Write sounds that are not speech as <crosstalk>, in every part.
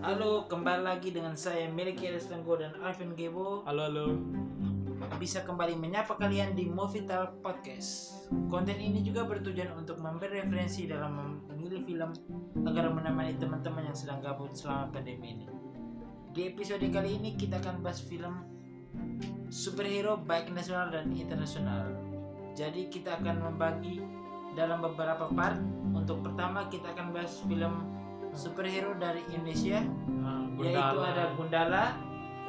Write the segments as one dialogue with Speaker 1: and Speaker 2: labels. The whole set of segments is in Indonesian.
Speaker 1: Halo, kembali lagi dengan saya Melki Restenggo dan Alvin Gebo
Speaker 2: Halo halo.
Speaker 1: Bisa kembali menyapa kalian di Movital Podcast Konten ini juga bertujuan untuk memberi referensi dalam memilih film Agar menemani teman-teman yang sedang gabut selama pandemi ini Di episode kali ini kita akan bahas film Superhero baik nasional dan internasional Jadi kita akan membagi dalam beberapa part Untuk pertama kita akan bahas film Superhero dari Indonesia
Speaker 2: Nah,
Speaker 1: yaitu
Speaker 2: Gundala.
Speaker 1: Ya, ada Gundala,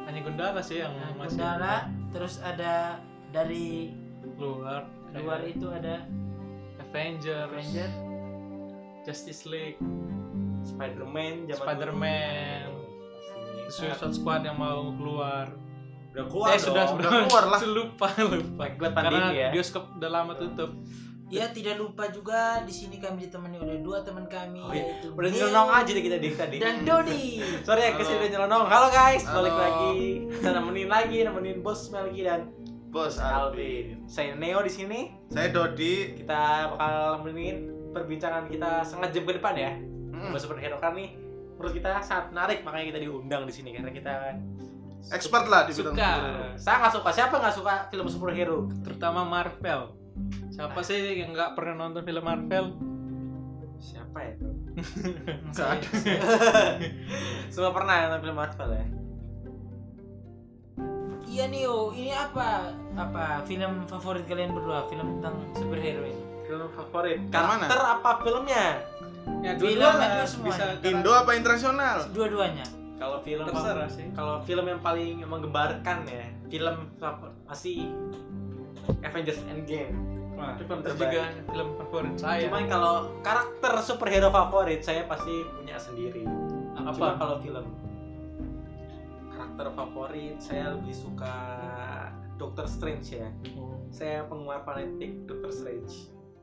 Speaker 2: Hanya Gundala sih yang
Speaker 1: nah,
Speaker 2: masih
Speaker 1: Gundala, terus ada dari
Speaker 2: keluar. Kayak
Speaker 1: luar itu ada
Speaker 2: Avengers,
Speaker 1: Avenger,
Speaker 2: Justice League,
Speaker 3: Spider-Man zaman
Speaker 2: Spider-man.
Speaker 3: dulu.
Speaker 1: Ah.
Speaker 2: Suicide Squad yang mau keluar.
Speaker 3: Udah keluar
Speaker 2: eh sudah
Speaker 3: dong,
Speaker 2: sudah
Speaker 3: udah keluar lah.
Speaker 2: <laughs> lupa lupa.
Speaker 3: Buat
Speaker 2: Karena
Speaker 3: pandemi ya.
Speaker 2: bioskop udah lama tutup.
Speaker 1: Ya tidak lupa juga di sini kami ditemani oleh dua teman kami
Speaker 3: Oh, iya.
Speaker 1: yaitu
Speaker 3: Udah
Speaker 1: Neil
Speaker 3: nyelonong aja deh kita deh tadi.
Speaker 1: dan Dodi.
Speaker 3: Sorry ya
Speaker 2: Halo.
Speaker 3: kesini udah nyelonong. Halo guys, balik
Speaker 2: Halo.
Speaker 3: lagi. Kita nemenin lagi, nemenin Bos Melgi dan
Speaker 4: Bos Alvin.
Speaker 3: Alvin. Saya Neo di sini.
Speaker 4: Saya Dodi.
Speaker 3: Kita bakal nemenin perbincangan kita setengah jam ke depan ya.
Speaker 4: Mm,
Speaker 3: Bos superhero kan nih menurut kita sangat menarik makanya kita diundang di sini karena kita
Speaker 4: expert lah di
Speaker 2: Suka.
Speaker 4: bidang superhero.
Speaker 3: Saya nggak suka. Siapa nggak suka film superhero?
Speaker 2: Terutama Marvel. Siapa sih yang nggak pernah nonton film Marvel?
Speaker 3: Siapa <laughs> ya? itu?
Speaker 1: Saya-
Speaker 3: Semua pernah nonton film Marvel ya?
Speaker 1: Iya Neo, ini apa? Apa film favorit kalian berdua? Film tentang superhero ini?
Speaker 3: Film favorit.
Speaker 4: Karakter
Speaker 3: Karakter apa filmnya?
Speaker 2: Ya,
Speaker 1: Film
Speaker 2: dua-dua
Speaker 1: itu
Speaker 2: lah,
Speaker 1: semuanya.
Speaker 2: bisa
Speaker 4: Indo apa internasional?
Speaker 1: Dua-duanya.
Speaker 3: Kalau film
Speaker 2: terserah sih.
Speaker 3: kalau film yang paling menggembarkan ya, film favor- pasti Avengers Endgame.
Speaker 2: Nah,
Speaker 3: Itu
Speaker 2: itu
Speaker 3: film
Speaker 2: juga film favorit saya.
Speaker 3: Cuman kalau karakter superhero favorit saya pasti punya sendiri.
Speaker 2: Apa?
Speaker 3: Cuma kalau film karakter favorit saya lebih suka Doctor Strange ya. Saya penggemar fanatik Doctor Strange.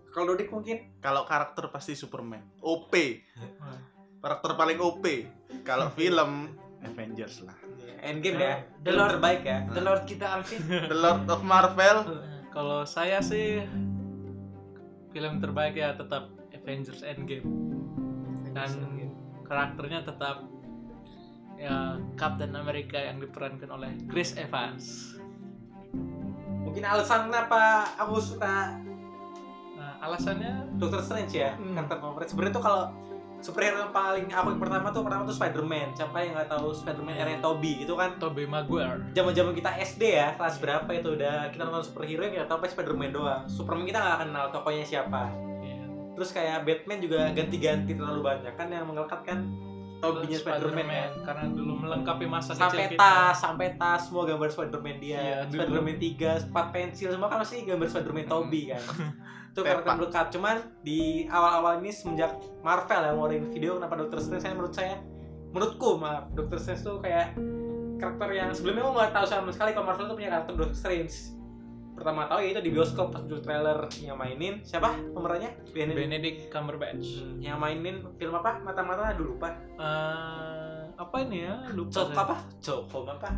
Speaker 3: Kalau Dodik mungkin
Speaker 4: Kalau karakter pasti Superman. OP. Karakter paling OP. Kalau film Avengers lah.
Speaker 3: Endgame ya.
Speaker 1: The
Speaker 3: The
Speaker 1: Lord-
Speaker 3: terbaik ya.
Speaker 1: The Lord kita Alvin.
Speaker 4: The Lord of Marvel.
Speaker 2: Kalau saya sih film terbaik ya tetap Avengers Endgame dan
Speaker 3: gitu.
Speaker 2: karakternya tetap ya Captain America yang diperankan oleh Chris Evans.
Speaker 3: Mungkin alasan kenapa aku suka
Speaker 2: Nah, alasannya
Speaker 3: Doctor Strange ya
Speaker 2: Hmm.
Speaker 3: karakter favorit sebenarnya tuh kalau superhero yang paling aku yang pertama tuh pertama tuh Spider-Man siapa yang nggak tahu Spider-Man era Toby itu kan
Speaker 2: Tobey Maguire.
Speaker 3: zaman-zaman kita SD ya kelas berapa itu udah kita nonton superhero yang kita tahu pasti Spider-Man doang Superman kita nggak kenal tokohnya siapa
Speaker 2: Iya.
Speaker 3: terus kayak Batman juga ganti-ganti terlalu banyak kan yang melekat kan Toby-nya Spider-Man ya
Speaker 2: karena dulu melengkapi masa
Speaker 3: sampai
Speaker 2: kecil kita.
Speaker 3: tas, sampai tas semua gambar Spider-Man dia.
Speaker 2: Iya, dulu.
Speaker 3: Spider-Man 3, 4 pensil semua kan masih gambar Spider-man Toby kan. Itu
Speaker 4: Peppa.
Speaker 3: karakter melekat. Cuman di awal-awal ini semenjak Marvel yang ngeluarin video kenapa Doctor Strange saya menurut saya menurutku maaf Doctor Strange tuh kayak karakter yang sebelumnya aku nggak tahu sama sekali kalau Marvel tuh punya karakter Doctor Strange pertama tahu ya itu di bioskop pas dulu trailer yang mainin siapa pemerannya Benedict,
Speaker 2: Benedict Cumberbatch.
Speaker 3: Hmm, yang mainin film apa mata-mata aduh lupa
Speaker 2: Eh, apa ini ya? Lupa.
Speaker 3: Cok
Speaker 2: saya.
Speaker 3: apa Cok Home apa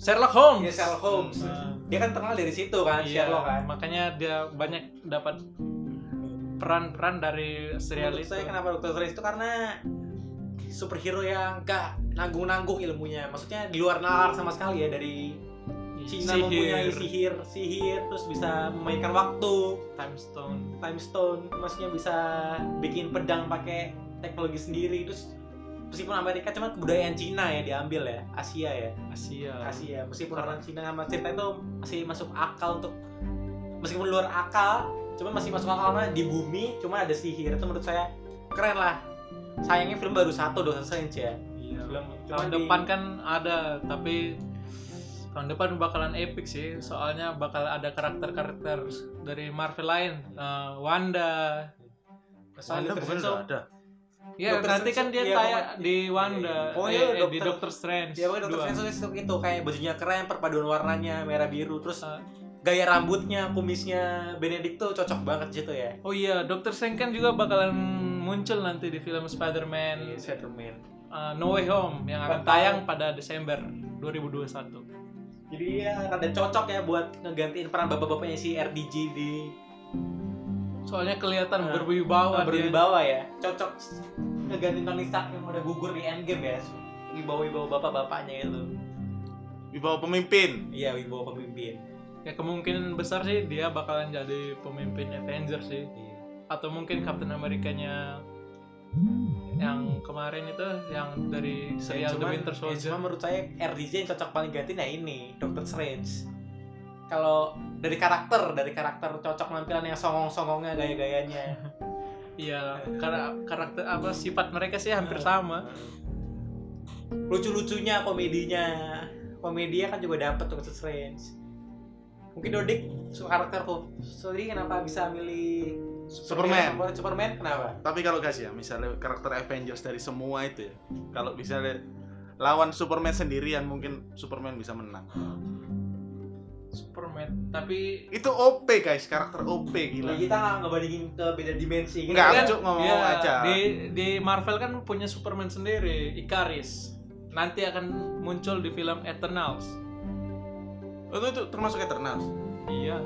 Speaker 2: Sherlock Holmes.
Speaker 3: ya Sherlock Holmes
Speaker 2: Nah,
Speaker 3: dia kan terkenal dari situ kan
Speaker 2: Iya,
Speaker 3: Sherlock kan
Speaker 2: makanya dia banyak dapat peran-peran dari serial
Speaker 3: Menurut
Speaker 2: itu.
Speaker 3: saya kenapa Dr. Strange itu karena superhero yang gak nanggung-nanggung ilmunya maksudnya di luar nalar sama sekali ya dari
Speaker 2: Iya.
Speaker 3: Cina mempunyai sihir sihir terus bisa memainkan waktu
Speaker 2: time stone.
Speaker 3: time stone maksudnya bisa bikin pedang pakai teknologi sendiri terus meskipun Amerika cuman kebudayaan Cina ya diambil ya Asia ya
Speaker 2: Asia.
Speaker 3: Asia ya, meskipun orang Cina sama cerita itu masih masuk akal untuk meskipun luar akal cuman masih masuk akal karena di bumi cuma ada sihir itu menurut saya keren lah sayangnya film baru satu Doctor Strange ya
Speaker 2: Iya.
Speaker 3: film
Speaker 2: Tahun
Speaker 3: di-
Speaker 2: depan kan ada, tapi tahun depan bakalan epic sih. Soalnya bakal ada karakter-karakter dari Marvel lain, Eh, Wanda.
Speaker 4: Wanda
Speaker 3: Doctor
Speaker 4: bukan
Speaker 3: Strange
Speaker 4: udah
Speaker 3: tuh-
Speaker 4: ada.
Speaker 2: Ya
Speaker 3: Doctor
Speaker 2: nanti kan dia
Speaker 3: Strange, iya,
Speaker 2: tayang
Speaker 3: pokoknya-
Speaker 2: di Wanda,
Speaker 3: Oh,
Speaker 2: eh,
Speaker 3: iya,
Speaker 2: eh, di
Speaker 3: Doctor-
Speaker 2: Doctor Strange.
Speaker 3: Ya pokoknya Doctor
Speaker 2: dua.
Speaker 3: Strange tuh itu- itu kayak bajunya keren, perpaduan warnanya merah biru, terus
Speaker 2: Ah.
Speaker 3: gaya rambutnya, kumisnya Benedict tuh cocok banget di situ ya.
Speaker 2: Oh iya, Doctor Strange kan juga bakalan muncul nanti di film Spider-Man
Speaker 3: Iya, Spider-Man.
Speaker 2: eh, No Way Home yang akan
Speaker 3: Bakal.
Speaker 2: tayang pada Desember 2021.
Speaker 3: Jadi ya rada cocok ya buat ngegantiin peran bapak-bapaknya si RDJ di
Speaker 2: Soalnya kelihatan
Speaker 3: Nah,
Speaker 2: berwibawa
Speaker 3: Nah,
Speaker 2: dia.
Speaker 3: berwibawa ya cocok ngegantiin Tony Stark yang udah gugur di Endgame ya wibawa-wibawa bapak-bapaknya itu.
Speaker 4: Wibawa pemimpin.
Speaker 3: Iya, wibawa pemimpin.
Speaker 2: ya kemungkinan besar sih dia bakalan jadi pemimpin Avengers sih
Speaker 3: Iya.
Speaker 2: atau mungkin Captain Amerikanya yang kemarin itu yang dari
Speaker 3: Ya,
Speaker 2: serial The
Speaker 3: cuman-
Speaker 2: Winter
Speaker 3: ya,
Speaker 2: Soldier
Speaker 3: cuma menurut saya RDJ yang cocok paling ganti nah ini Doctor Strange. Kalau dari karakter, dari karakter cocok penampilannya songong-songongnya gaya-gayanya.
Speaker 2: iya karena karakter apa sifat mereka sih hampir sama
Speaker 3: Lucu-lucunya komedinya. Komedia kan juga dapet tuh Doctor Strange. Mungkin Dodik su- karakter sorry kenapa bisa milih
Speaker 4: Superman.
Speaker 3: Superman, Superman kenapa?
Speaker 4: Tapi kalau guys ya, misalnya karakter Avengers dari semua itu ya, kalau misalnya lawan Superman sendirian mungkin Superman bisa menang.
Speaker 2: Superman tapi
Speaker 4: Itu OP guys, karakter OP
Speaker 3: Ya,
Speaker 4: gila.
Speaker 3: kita nggak ngebandingin ke beda dimensi. gitu
Speaker 4: Nggak,
Speaker 3: kan?
Speaker 4: aku cuk ngomong
Speaker 2: Iya,
Speaker 4: aja.
Speaker 2: Di di Marvel kan punya Superman sendiri, Icaris. Nanti akan muncul di film Eternals.
Speaker 4: Oh, Itu, itu termasuk Eternals.
Speaker 2: Iya.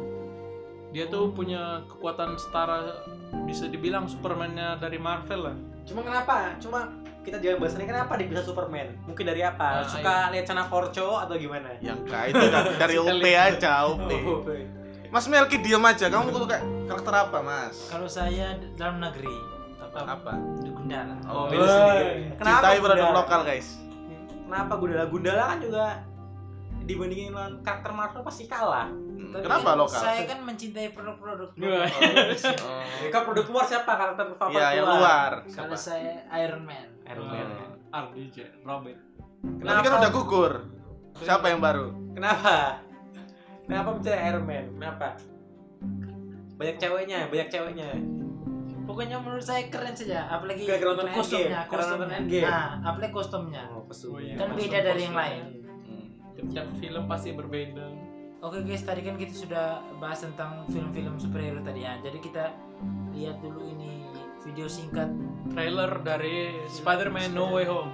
Speaker 2: Dia tuh punya kekuatan setara bisa dibilang Supermannya dari Marvel lah.
Speaker 3: Cuma kenapa? Cuma kita jangan bahas ini kenapa dia bisa Superman? Mungkin dari apa?
Speaker 2: Ah,
Speaker 3: Suka
Speaker 4: iya.
Speaker 3: lihat Cana Korco atau gimana?
Speaker 4: Yang kayak itu dari, dari OP aja, OP.
Speaker 3: Oh,
Speaker 4: iya. Mas Melki diam aja, kamu tuh kayak karakter apa, Mas?
Speaker 1: Kalau saya d- dalam negeri, apa?
Speaker 4: Apa?
Speaker 1: Di Gundala.
Speaker 4: Oh,
Speaker 3: Beda sendiri. Kenapa
Speaker 4: Cintai produk
Speaker 3: Gundala?
Speaker 4: lokal, guys.
Speaker 3: Kenapa Gundala? Gundala kan juga dibandingin dengan karakter Marvel pasti kalah.
Speaker 4: Hmm,
Speaker 1: Tapi
Speaker 4: Kenapa
Speaker 1: kan
Speaker 4: lokal?
Speaker 1: Saya kan mencintai produk-produk. iya,
Speaker 2: Wah.
Speaker 1: Indonesia.
Speaker 4: Oh.
Speaker 3: Ya, kan produk luar siapa karakter favorit
Speaker 4: Iya, yang luar.
Speaker 1: Kalau
Speaker 4: Siapa?
Speaker 1: saya Iron Man.
Speaker 3: Iron Man.
Speaker 4: Hmm.
Speaker 2: RDJ, Robert.
Speaker 4: Tapi kan udah gugur. Siapa yang baru?
Speaker 3: Kenapa? Kenapa mencari Iron Man? Kenapa? Banyak ceweknya, banyak ceweknya.
Speaker 1: Pokoknya menurut saya keren saja, apalagi
Speaker 3: Kayak Grand Theft Auto
Speaker 1: kostumnya,
Speaker 3: Endgame. Grand Theft Auto
Speaker 1: kostumnya.
Speaker 3: Endgame.
Speaker 1: Nah, apalagi kostumnya.
Speaker 4: Oh, iya.
Speaker 1: Kan beda dari yang lain.
Speaker 2: Tiap film pasti berbeda.
Speaker 1: Oke guys, tadi kan kita sudah bahas tentang film-film superhero tadi ya. Jadi kita lihat dulu ini video singkat.
Speaker 2: Trailer dari Spider-Man No Way Home.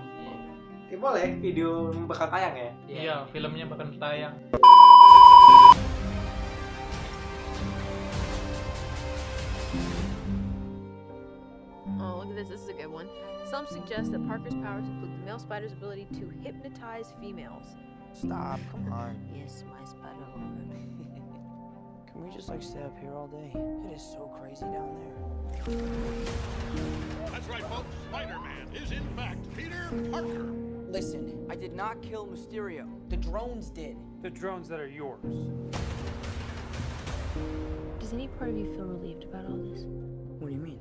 Speaker 3: Eh, boleh video bakal tayang ya?
Speaker 2: Iya, filmnya bakal tayang.
Speaker 5: Oh, look at this. This is a good one. Some suggest that Parker's powers include the male spider's ability to hypnotize females.
Speaker 6: Stop, come on.
Speaker 5: Yes, my spider lord. <laughs>
Speaker 6: Can we just like stay up here all day? It is so crazy down there.
Speaker 7: That's right, folks. Spider-Man is in fact Peter Parker.
Speaker 8: Listen, I did not kill Mysterio. The drones did.
Speaker 9: The drones that are yours.
Speaker 10: Does any part of you feel relieved about all this?
Speaker 6: What do you mean?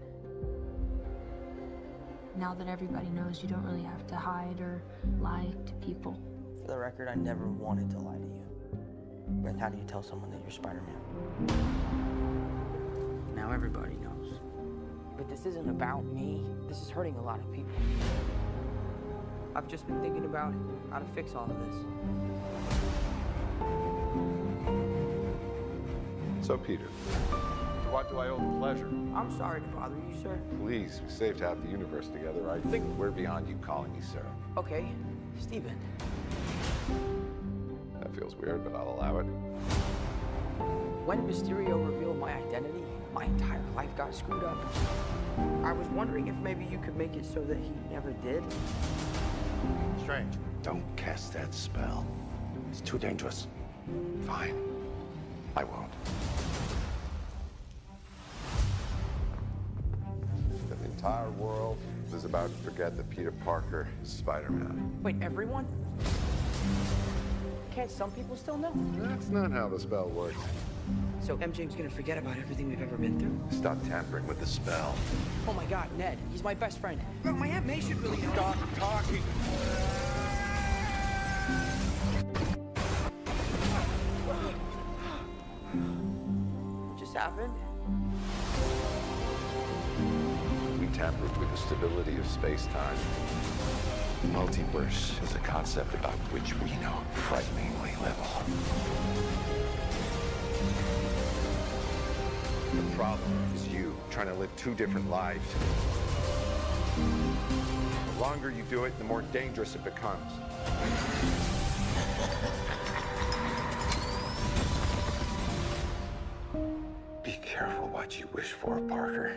Speaker 10: Now that everybody knows you don't really have to hide or lie to people.
Speaker 6: For the record, I never wanted to lie to you. But how do you tell someone that you're Spider Man? Now everybody knows. But this isn't about me. This is hurting a lot of people. I've just been thinking about how to fix all of this.
Speaker 7: So, Peter, to what do I owe the pleasure?
Speaker 6: I'm sorry to bother you, sir.
Speaker 7: Please, we saved half the universe together. I think we're beyond you calling me sir.
Speaker 6: Okay, Steven.
Speaker 7: That feels weird, but I'll allow it.
Speaker 6: When Mysterio revealed my identity, my entire life got screwed up. I was wondering if maybe you could make it so that he never did.
Speaker 7: Strange. Don't cast that spell. It's too dangerous. Fine. I won't. The entire world is about to forget that Peter Parker is Spider-Man.
Speaker 6: Wait, everyone? Can't some people still know?
Speaker 7: That's not how the spell works.
Speaker 6: So MJ's gonna forget about everything we've ever been through?
Speaker 7: Stop tampering with the spell.
Speaker 6: Oh my god, Ned, he's my best friend. Bro, my Aunt May should really know.
Speaker 7: Stop talking.
Speaker 6: What just happened?
Speaker 7: We tamper with the stability of space-time. Multiverse is a concept about which we know frighteningly little. The problem is you trying to live two different lives. The longer you do it, the more dangerous it becomes. Be careful what you wish for, Parker.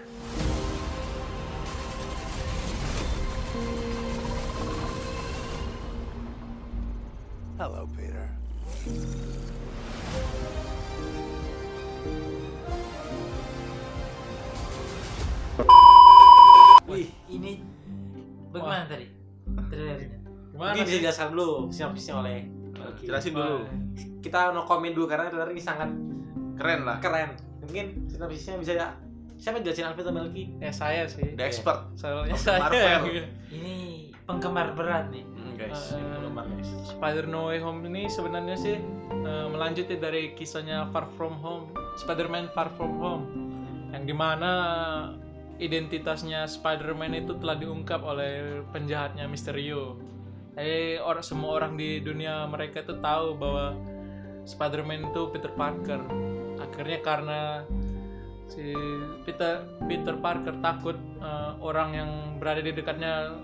Speaker 9: Hello, Peter.
Speaker 1: Wih, ini bagaimana tadi? Trailernya.
Speaker 3: Ini bisa dijelaskan dulu sinopsisnya oleh Oki.
Speaker 4: Jelasin dulu.
Speaker 3: Kita no comment dulu karena trailer ini sangat
Speaker 4: Keren lah.
Speaker 3: keren. Mungkin sinopsisnya bisa ya, siapa yang jelasin Alvin sama Melki?
Speaker 2: Ya saya sih.
Speaker 4: The expert.
Speaker 2: Soalnya
Speaker 4: Of
Speaker 2: saya
Speaker 4: Marvel.
Speaker 2: <laughs> yang-
Speaker 1: Ini penggemar berat nih.
Speaker 4: Hmm, guys.
Speaker 2: Eh,
Speaker 3: Penggemar, guys.
Speaker 2: Spider No Way Home ini sebenarnya sih eh, melanjutin dari kisahnya Far From Home, Spider-Man Far From Home, yang dimana identitasnya Spider-Man itu telah diungkap oleh penjahatnya Misterio. Jadi orang semua orang di dunia mereka itu tahu bahwa Spider-Man itu Peter Parker. Akhirnya karena si Peter Peter Parker takut eh, orang yang berada di dekatnya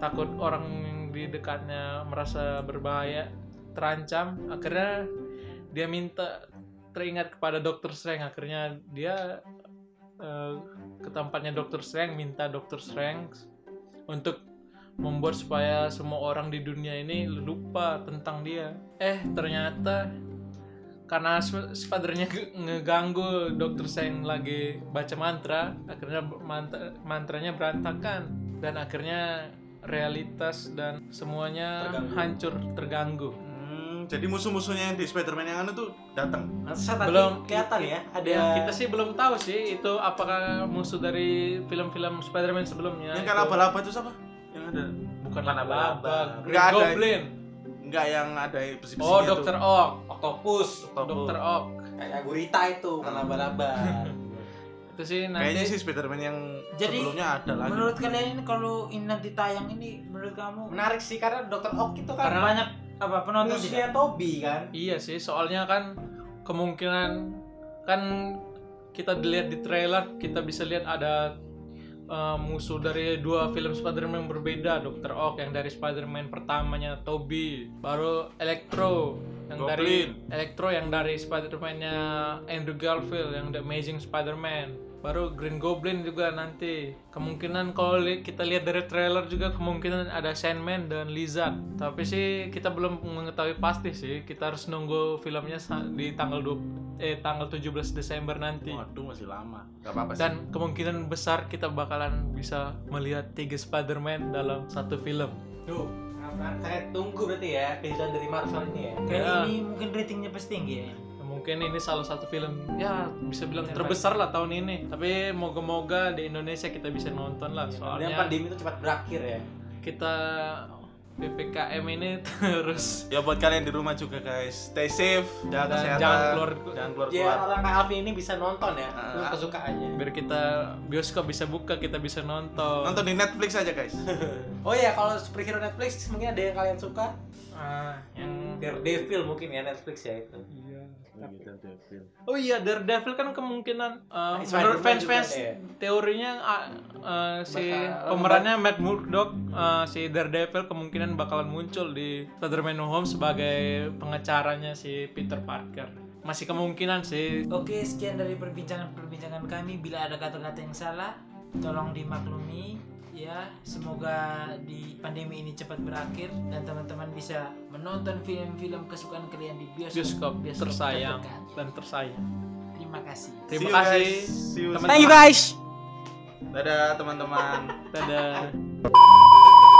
Speaker 2: takut orang yang di dekatnya merasa berbahaya terancam akhirnya dia minta teringat kepada Dokter Strange akhirnya dia eh, ke tempatnya Dokter Strange minta Dokter Strange untuk membuat supaya semua orang di dunia ini lupa tentang dia eh ternyata karena sp- spidernya ge- ngeganggu dokter Seng lagi baca mantra akhirnya b- mant- mantranya berantakan dan akhirnya realitas dan semuanya
Speaker 3: Terganggu.
Speaker 2: hancur terganggu
Speaker 4: Hmm, jadi musuh-musuhnya yang di Spider-Man yang anu tuh datang.
Speaker 3: Masa tadi
Speaker 2: Belum.
Speaker 3: kelihatan ya
Speaker 4: Iya.
Speaker 3: ada
Speaker 2: Ya, kita sih belum tahu sih itu apakah musuh dari film-film Spider-Man sebelumnya Nah,
Speaker 4: yang
Speaker 2: itu.
Speaker 4: kayak laba-laba itu siapa? Yang ada
Speaker 2: bukan
Speaker 3: laba-laba.
Speaker 2: laba-laba
Speaker 4: Nggak
Speaker 2: Green
Speaker 4: ada.
Speaker 2: Goblin
Speaker 4: enggak yang ada besi-besinya
Speaker 2: oh
Speaker 4: tuh.
Speaker 2: Dokter Ock
Speaker 3: Octopus,
Speaker 2: Dokter Ock
Speaker 3: kayak gurita itu
Speaker 2: Hmm.
Speaker 3: bukan
Speaker 2: <laughs>
Speaker 3: laba-laba.
Speaker 2: itu sih
Speaker 4: Kayaknya
Speaker 2: nanti
Speaker 4: sih Spider-Man yang
Speaker 1: Jadi,
Speaker 4: sebelumnya ada lagi.
Speaker 1: Menurut kalian ini kalau ini nanti tayang ini menurut kamu
Speaker 2: Nah,
Speaker 3: Menarik sih karena Dr. Ock itu kan
Speaker 2: Karena-
Speaker 1: banyak apa penonton tidak?
Speaker 3: musuhnya Toby kan.
Speaker 2: Iya sih, soalnya kan kemungkinan kan kita dilihat di trailer kita bisa lihat ada eh, musuh dari dua film Spider-Man yang berbeda, Dr. Ock yang dari Spider-Man pertamanya Toby, baru Electro yang dari Electro yang dari Spider-Man-nya Andrew Garfield yang The Amazing Spider-Man, baru Green Goblin juga nanti. Kemungkinan kalau li- kita lihat dari trailer juga kemungkinan ada Sandman dan Lizard. Tapi sih kita belum mengetahui pasti sih. Kita harus nunggu filmnya sa- di tanggal 2 eh tanggal 17 Desember nanti.
Speaker 4: Waduh masih lama. Gak apa-apa sih.
Speaker 2: Dan kemungkinan besar kita bakalan bisa melihat tiga Spider-Man dalam satu film.
Speaker 3: Duh, saya tunggu berarti ya kejutan dari Marvel ini ya.
Speaker 1: Kayak
Speaker 2: Ya.
Speaker 1: ini mungkin ratingnya pasti tinggi ya.
Speaker 2: Mungkin ini salah satu film ya bisa bilang terbesar lah tahun ini. Tapi moga-moga di Indonesia kita bisa nonton lah.
Speaker 3: Soalnya
Speaker 2: Soalnya
Speaker 3: pandemi itu cepat berakhir ya.
Speaker 2: kita PPKM ini <laughs> terus
Speaker 4: Ya buat kalian di rumah juga guys, stay safe,
Speaker 2: Dan
Speaker 4: jaga kesehatan.
Speaker 2: jangan keluar-
Speaker 4: jangan keluar.
Speaker 3: Dia orang kayak Alvin ini bisa nonton ya,
Speaker 4: Ah.
Speaker 3: itu kesukaannya.
Speaker 2: biar kita bioskop bisa buka kita bisa nonton.
Speaker 4: Nonton di Netflix aja guys.
Speaker 3: Oh ya, kalau superhero Netflix mungkin ada yang kalian suka?
Speaker 2: Ah, yang
Speaker 3: Daredevil mungkin ya Netflix ya itu.
Speaker 2: Oh iya Daredevil kan kemungkinan uh,
Speaker 3: Spider-Man
Speaker 2: menurut fans-fans
Speaker 3: Nah, juga, iya.
Speaker 2: teorinya uh, uh, si
Speaker 3: Bakal-
Speaker 2: pemerannya Matt Murdock uh, si Daredevil kemungkinan bakalan muncul di Spider-Man No Home sebagai pengacaranya si Peter Parker. Masih kemungkinan sih.
Speaker 1: Oke, sekian dari perbincangan-perbincangan kami. Bila ada kata-kata yang salah, tolong dimaklumi ya. Semoga di pandemi ini cepat berakhir dan teman-teman bisa menonton film-film kesukaan kalian di bioskop,
Speaker 2: Bioskop tersayang
Speaker 1: terdekat.
Speaker 2: dan tersayang.
Speaker 1: Terima kasih.
Speaker 2: Terima
Speaker 4: See you,
Speaker 2: kasih.
Speaker 4: guys. See you.
Speaker 2: teman-teman.
Speaker 3: guys.
Speaker 4: Dadah teman-teman.
Speaker 2: Dadah.